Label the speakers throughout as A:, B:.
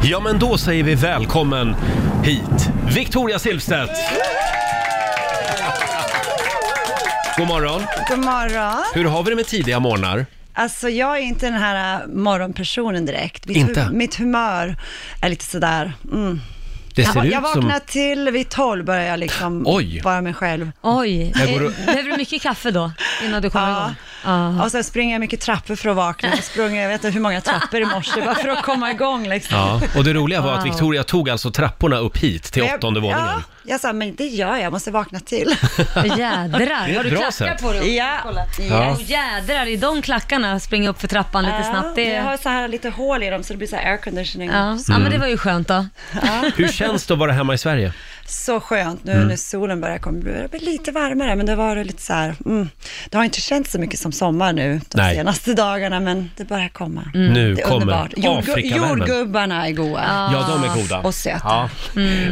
A: Ja, men då säger vi välkommen hit, Victoria Silvstedt! God morgon!
B: God morgon.
A: Hur har vi det med tidiga morgnar?
B: Alltså jag är inte den här äh, morgonpersonen direkt. Mitt,
A: Inte?
B: mitt humör är lite sådär. Mm.
A: Det
B: Jag,
A: ser
B: va-
A: ut
B: jag
A: som...
B: vaknar till vid tolv börjar jag liksom
A: Oj.
B: vara mig själv.
C: Oj,
A: Jag går och-
C: Eh, behöver du mycket kaffe då innan du kommer igång?
B: Ja.
C: Ja.
B: Och sen springer jag mycket trappor för att vakna. Jag sprung, jag vet inte hur många trappor i morse bara för att komma igång liksom.
A: Ja, och det roliga var att
C: Wow.
A: Victoria tog alltså trapporna upp hit till
B: Men jag-
A: åttonde våningen.
B: Ja, jag sa, men det gör jag, jag måste vakna till.
A: Det är
C: Jädrar,
A: ett
C: har du
A: bra
C: klackar
A: sätt.
C: på dig? också?
B: ja.
A: Ja.
C: Oh, jädrar, i de klackarna springa upp för trappan lite snabbt. Det...
B: Jag
C: Ja.
B: har så här lite hål i dem så det blir så här airconditioning.
C: Ja. men
A: Mm.
C: det var ju skönt då.
A: Hur känns det att vara hemma i Sverige?
B: Så skönt
A: Mm.
B: nu när solen börjar komma. Det blir lite varmare, men det var det lite så här. Mm, det har inte känts så mycket som sommar nu de
A: Nej.
B: senaste dagarna, men det börjar komma.
C: Mm.
A: Nu
B: Det är
A: kommer
B: underbart. Jordgu-
A: Afrikavärmen.
B: jordgubbarna är goda.
A: Ja, de är goda.
B: Ah, Och söta.
A: Ja.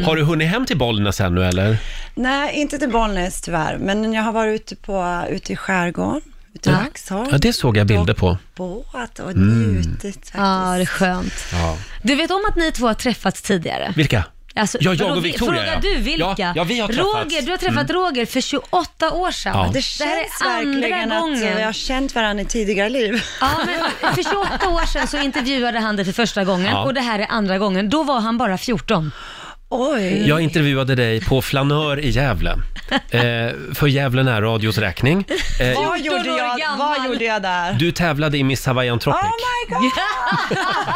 A: Har du hunnit hem till Bollnäs ännu eller?
B: Nej, inte till Bollnäs tyvärr, men jag har varit ute, på, ute i skärgården, ute i
C: Ja.
B: Vaxholm.
A: Mm. Ja, det såg jag bilder på. Mm.
B: Båt och njutit faktiskt.
C: Ja, det är skönt.
A: Ja.
C: Du vet om att ni två har träffats tidigare?
A: Vilka?
C: Alltså,
A: Ja, jag
C: vadå,
A: och
C: vi-
A: Victoria,
C: Frågar
A: ja.
C: du vilka?
A: Ja, ja, vi har träffats. Mm.
C: Roger, du har träffat Roger för 28 år sedan.
A: Ja.
B: Det känns
C: här är andra
B: verkligen att eh,
C: gången.
B: vi har känt varandra i tidigare liv.
C: Ja, men för 28 år sedan så intervjuade han dig för första gången
A: Ja.
C: och det här är andra gången. Då var han bara 14.
B: Oj.
A: Jag intervjuade dig på Flanör i Gävle. Eh, för Gävle närradios räkning. Eh,
B: Vad
C: 14 år
B: gjorde, jag, vad
C: gammal.
B: gjorde jag där?
A: du tävlade i Miss Hawaiian Tropic.
B: Oh my god!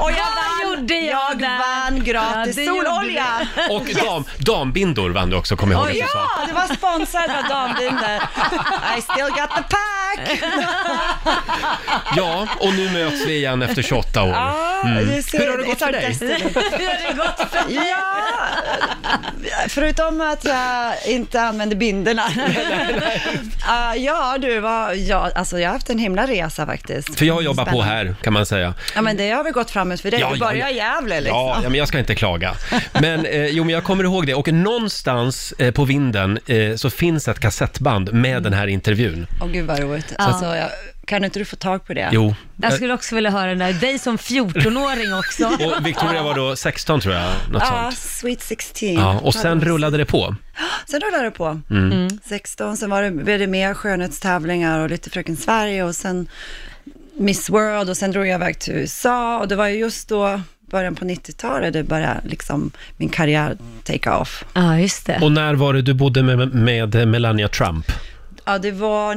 B: Och jag
C: Vad
B: vann,
C: gjorde jag där?
B: vann gratis
C: Ja, det gjorde
B: sololja!
A: Och dam, dambindor vann du också, kommer jag ihåg att du sa.
B: Ja, det var sponsrad av dambinder. I still got the pack!
A: Ja, och nu möts vi igen efter 28 år.
B: Ja, du ser,
A: Mm. Hur har det gått
B: it's our
A: för dig?
B: destiny.
C: Ah. Hur har det gått för
B: Ja, förutom att jag inte använde binderna. Eh, ja, du, var, ja, alltså jag har haft en himla resa faktiskt.
A: För jag jobbar på
B: Spännande.
A: här, kan man säga.
B: Ja, men det har väl gått framåt för dig.
A: Ja,
B: du
A: ja,
B: börjar i Gävle liksom.
A: Ja, ja, men jag ska inte klaga. Men, eh, jo, men jag kommer ihåg det. Och någonstans eh, på vinden eh, så finns ett kassettband med den här intervjun.
B: Åh gud vad roligt. Alltså, jag, kan inte du få tag på det?
A: Jo.
C: Jag skulle också vilja höra den där, dig som 14-åring också.
A: Eh, Och Victoria var då 16 tror jag, något
B: Ja,
A: sånt.
B: Ah, Sweet 16.
A: Ja, och sen Mm. rullade det på.
B: Sen rullade det på. 16, sen var det, blev det mer skönhetstävlingar och lite Fröken Sverige och sen Miss World och sen drog jag iväg till USA och det var ju just då början på 90-talet det började liksom min karriär take off.
C: Ja, just det.
A: Och när var det du bodde med, med Melania Trump?
B: Ja, det var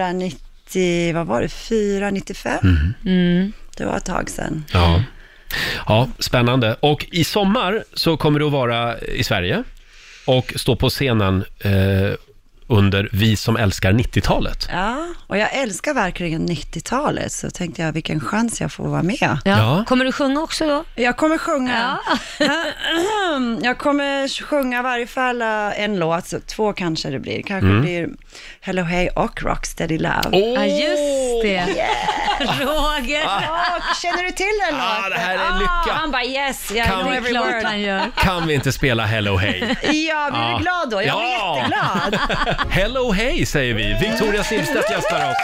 B: 1990, vad var det, 4, 95?
A: Mm.
B: Det var ett tag sedan.
A: Ja. ja, spännande. Och i sommar så kommer du att vara i Sverige och stå på scenen eh, under Vi som älskar 90-talet.
B: Ja, och jag älskar verkligen 90-talet så tänkte jag vilken chans jag får vara med.
C: Ja.
A: Ja.
C: Kommer du sjunga också då?
B: Jag kommer sjunga. jag kommer sjunga i varje fall eh, en låt, så två kanske det blir. Kanske blir Hello Hey och Rocksteady Love.
A: Mm. Åh!
C: Ja, just det. Roger.
B: Åh, känner du till den
A: Ah,
B: låten?
A: det här är lycka.
B: han bara yes, I
A: Kan
B: know
A: vi-
C: Det är
B: every
C: klart han
B: word.
C: gör.
A: Kan vi inte spela Hello Hey?
B: Ja, blir
A: Ah.
B: du glad då? Jag blir
A: Ja.
B: jätteglad.
A: Hello Hey säger vi. Victoria Silvstedt gästar oss.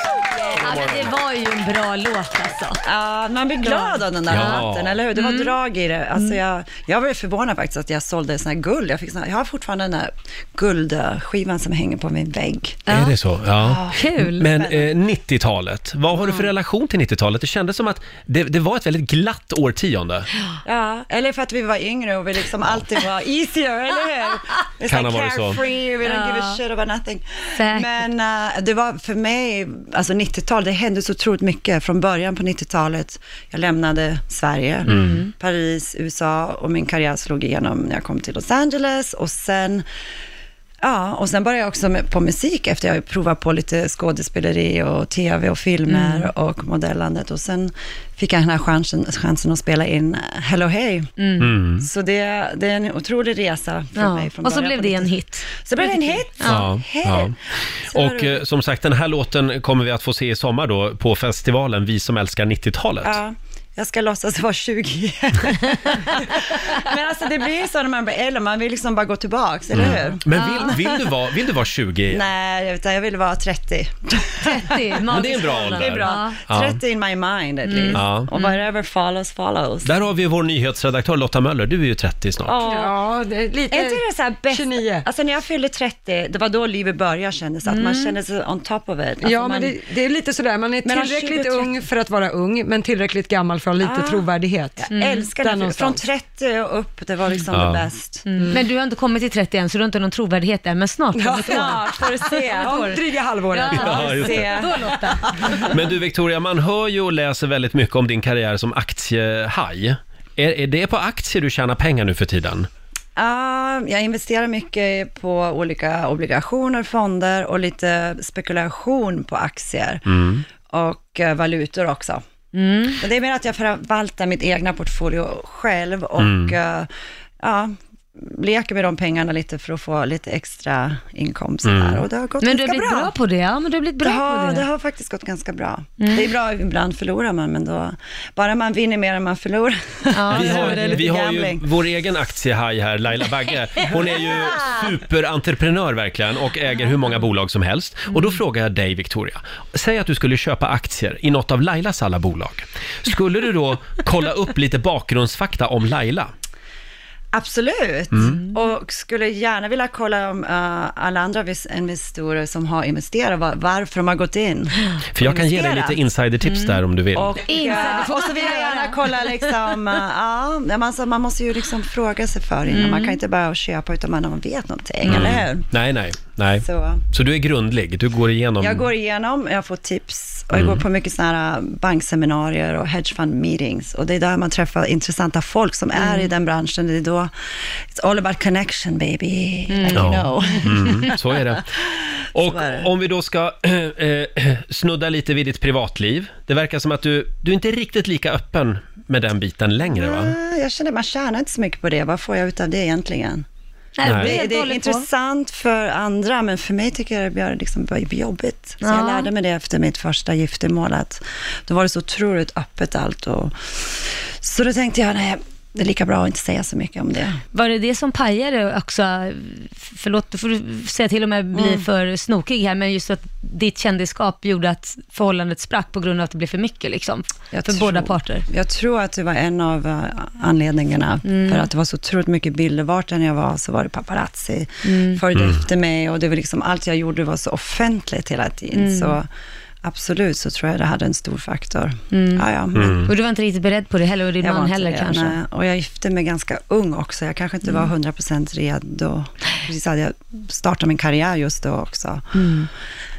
C: Ja, men det var ju en bra låt alltså.
B: Ja, man blir glad av den där
A: Ja.
B: låten, eller hur? Det var drag i det. Alltså jag, jag var förvånad faktiskt att jag sålde sån här guld. Jag, fick sån här, jag har fortfarande den där guldskivan som hänger på min vägg.
A: Är det så? Ja.
C: Kul.
A: Men eh, 90-talet, vad har du för relation till 90-talet? Det kändes som att det, det var ett väldigt glatt årtionde.
B: Ja, eller för att vi var yngre och vi liksom alltid var easier, eller hur? Vi är
A: Kan ha
B: så här
A: varit så.
B: carefree, we don't
C: Ja.
B: give a shit about nothing.
C: Säkert.
B: Men eh, det var för mig, alltså 90-talet, det hände så otroligt mycket från början på 90-talet. Jag lämnade Sverige, Paris, USA och min karriär slog igenom när jag kom till Los Angeles och sen Ja, och sen började jag också med, på musik efter jag provat på lite skådespeleri och tv och filmer
C: Mm.
B: och modellandet. Och sen fick jag den här chansen, chansen att spela in eh, Hello Hey. Så det, det är en otrolig resa för
C: Mm. Ja.
B: mig. Från
C: Och så
B: början
C: blev
B: på
C: det en
B: 90-talet.
C: hit.
B: Så blev det en hit.
A: Ja,
B: Hey.
A: ja.
B: Så var
A: Och
B: det-
A: eh, som sagt, den här låten kommer vi att få se i sommar då på festivalen Vi som älskar 90-talet.
B: ja. jag ska låtsas vara 20 igen. Men alltså det blir ju så när man blir äldre, man vill liksom bara gå tillbaks,
A: Mm.
B: eller hur?
A: Men vill, vill, du vara, vill du vara 20 igen?
B: Nej, utan jag vill vara 30.
C: 30,
A: det är en bra ålder.
C: Det är bra.
A: Ja.
B: 30 in my mind
D: Mm.
B: at least.
A: Ja.
B: Och whatever follows, follows.
A: Där har vi vår nyhetsredaktör Lotta Möller, du är ju 30 snart.
B: Ja.
D: Ja, det är lite...
B: Är inte det så här bäst?
D: 29.
B: Alltså när jag fyllde 30, det var då livet började kändes, att man kände sig on top of it. Alltså
D: Mm. Ja,
B: man,
D: men det, det är lite sådär, man är
B: Men har
D: tillräckligt
B: 20-30
D: ung för att vara ung, men tillräckligt gammal för att ha lite
B: Ah.
D: trovärdighet.
B: jag älskar
D: Mm. Där
B: det. Från
D: någonstans. Mm.
B: 30 och upp, det var liksom
A: Ja.
B: det bäst.
C: Mm. Men du har inte kommit till 30 än, så du har inte någon trovärdighet än, men snart. om ett år.
B: Snart får du se.
D: Ja, dryga halvåret.
C: Ja.
A: Ja, just det.
B: se.
C: Då Lotta.
A: Men du Victoria, man hör ju och läser väldigt mycket om din karriär som aktiehaj. Är, är det på aktier du tjänar pengar nu för tiden?
B: Ja, jag investerar mycket på olika obligationer, fonder och lite spekulation på aktier.
A: Mm.
B: Och eh, valutor också.
C: Mm.
B: Men det är mer att jag förvaltar mitt egna portfolio själv och
A: Mm.
B: eh, ja, leker med de pengarna lite för att få lite extra inkomst.
A: Mm.
B: Här. Och det har gått
C: Men du har
B: ganska
C: blivit bra på det. Ja, men du har blivit
B: det
C: bra
B: har,
C: på
B: det
C: det. Mm.
B: har faktiskt gått ganska bra. Det är bra, ibland förlorar man, men då, bara man vinner mer än man förlorar.
C: Ja,
A: vi
C: det
A: har,
C: är det.
A: vi har ju
B: gambling.
A: vår egen aktiehaj här, Laila Bagge. Hon är ju superentreprenör verkligen och äger hur många bolag som helst. Och då frågar jag dig Victoria, säg att du skulle köpa aktier i något av Lailas alla bolag. Skulle du då kolla upp lite bakgrundsfakta om Laila?
B: Absolut,
A: Mm.
B: och skulle gärna vilja kolla om eh, alla andra vis- investorer som har investerat, var, varför de har gått in.
A: För jag kan ge dig lite insidertips där om du vill.
B: Och,
C: Insider
B: eh, och så vill jag gärna kolla liksom, eh, ja, men alltså, man måste ju liksom fråga sig för innan,
A: Mm.
B: man kan inte bara köpa utan man vet någonting, eller hur?
A: Nej, nej, nej.
B: Så.
A: Så du är grundlig, du går igenom...
B: Jag går igenom, jag får tips och jag
A: Mm.
B: går på mycket sådana här eh, bankseminarier och hedge fund meetings. Och det är där man träffar intressanta folk som är
A: Mm.
B: i den branschen. Det är då, it's all about connection baby, like you
A: Ja.
B: know.
A: Mm, så är det. Och
B: Mm. Så är det.
A: om vi då ska eh, eh, snudda lite vid ditt privatliv. Det verkar som att du, du är inte riktigt lika öppen med den biten längre va?
B: Ah, Jag känner man tjänar inte så mycket på det. Vad får jag ut av det egentligen?
C: Nej,
A: Nej.
C: det
B: Det,
C: är
B: det är
C: intressant.
B: intressant för andra, men för mig tycker jag det blir liksom bara jobbigt. Så
C: Ja.
B: jag lärde mig det efter mitt första giftermål, att då var det så otroligt öppet allt. Och... Så då tänkte jag, nej, det är lika bra att inte säga så mycket om det.
C: Var det det som pajade också? Förlåt, du får säga till om jag blir
B: Mm.
C: för snokig här, men just att ditt kändisskap gjorde att förhållandet sprack på grund av att det blev för mycket liksom,
B: Jag
C: för
B: tror-
C: båda parter.
B: Jag tror att det var en av eh, anledningarna,
C: Mm.
B: för att det var så otroligt mycket bilder. Vart än jag var så var det paparazzi,
C: Mm.
B: följde efter mig och det var liksom, allt jag gjorde var så offentligt hela tiden.
C: Mm.
B: Så absolut så tror jag det hade en stor faktor. Ja, ja, men
C: Och du var inte riktigt beredd på det heller, och din
B: jag var
C: Mm. man
B: inte
C: heller
B: det,
C: kanske. Mm.
B: nej. Och jag gifte mig ganska ung också. Jag kanske inte var 100% redo. Precis hade jag startat min karriär just då också.
C: Mm.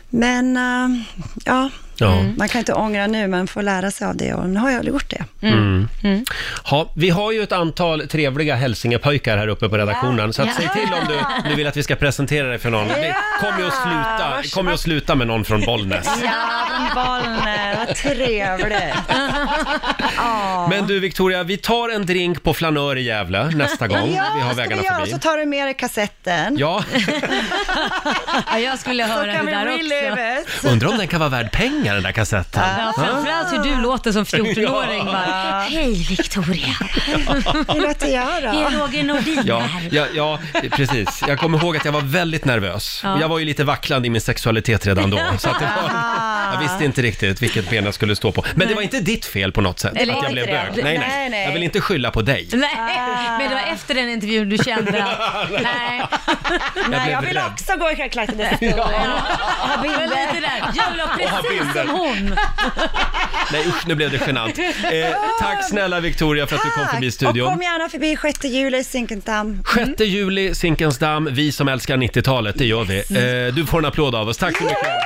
B: Men eh, ja,
A: Ja.
B: man kan inte ångra nu, men får lära sig av det. Och nu har jag gjort det.
A: Mm.
B: Mm.
A: Ha, vi har ju ett antal trevliga hälsingepojkar här uppe på redaktionen. Så att säg till om du, du vill att vi ska presentera dig för någon. Det kommer ju att sluta, kommer ju att sluta med någon från Bollnäs.
B: Ja, men Bollnäs, vad trevligt.
A: Men du Victoria, vi tar en drink på Flanör i Gävle nästa gång. Vi har vägarna
B: göra?
A: förbi.
B: Så tar du med dig kassetten.
A: Ja,
C: Ja, jag skulle
B: så
C: höra
B: kan
C: det
B: vi
C: där också.
B: relive it.
A: undrar om den kan vara värd pengar den där kassetten.
C: Ja, framförallt hur du låter som 14-åring. bara, Hej Victoria,
B: Hur lät det göra?
C: det är Roger Nordin
A: Ja,
C: här.
A: ja, ja, precis. Jag kommer ihåg att jag var väldigt nervös.
C: Ja.
A: Jag var ju lite vacklande i min sexualitet redan då. Så att det var, jag visste inte riktigt vilket ben jag skulle stå på. Men det var inte ditt fel på något sätt
C: Eller
A: att jag
C: inte
A: blev
C: det.
A: bög. Nej, nej,
B: Nej, nej.
A: Jag vill inte skylla på dig.
C: Nej, men det var efter den intervjun du kände att, nej,
A: Jag
B: Nej,
A: blev
B: jag vill
A: rädd.
B: också gå i klacken. Det står
C: ja, lite där. Jag vill ha
A: ha
C: precis
A: bilder.
C: som hon.
A: Nej, usch, nu blev det genant. Eh, tack snälla Victoria för att du kom
B: Tack.
A: förbi
B: Och
A: studion.
B: kom gärna förbi 6 juli i Zinkensdamm.
A: 6 juli, Zinkensdamm, vi som älskar 90-talet, det gör vi. Eh, du får en applåd av oss. Tack så mycket.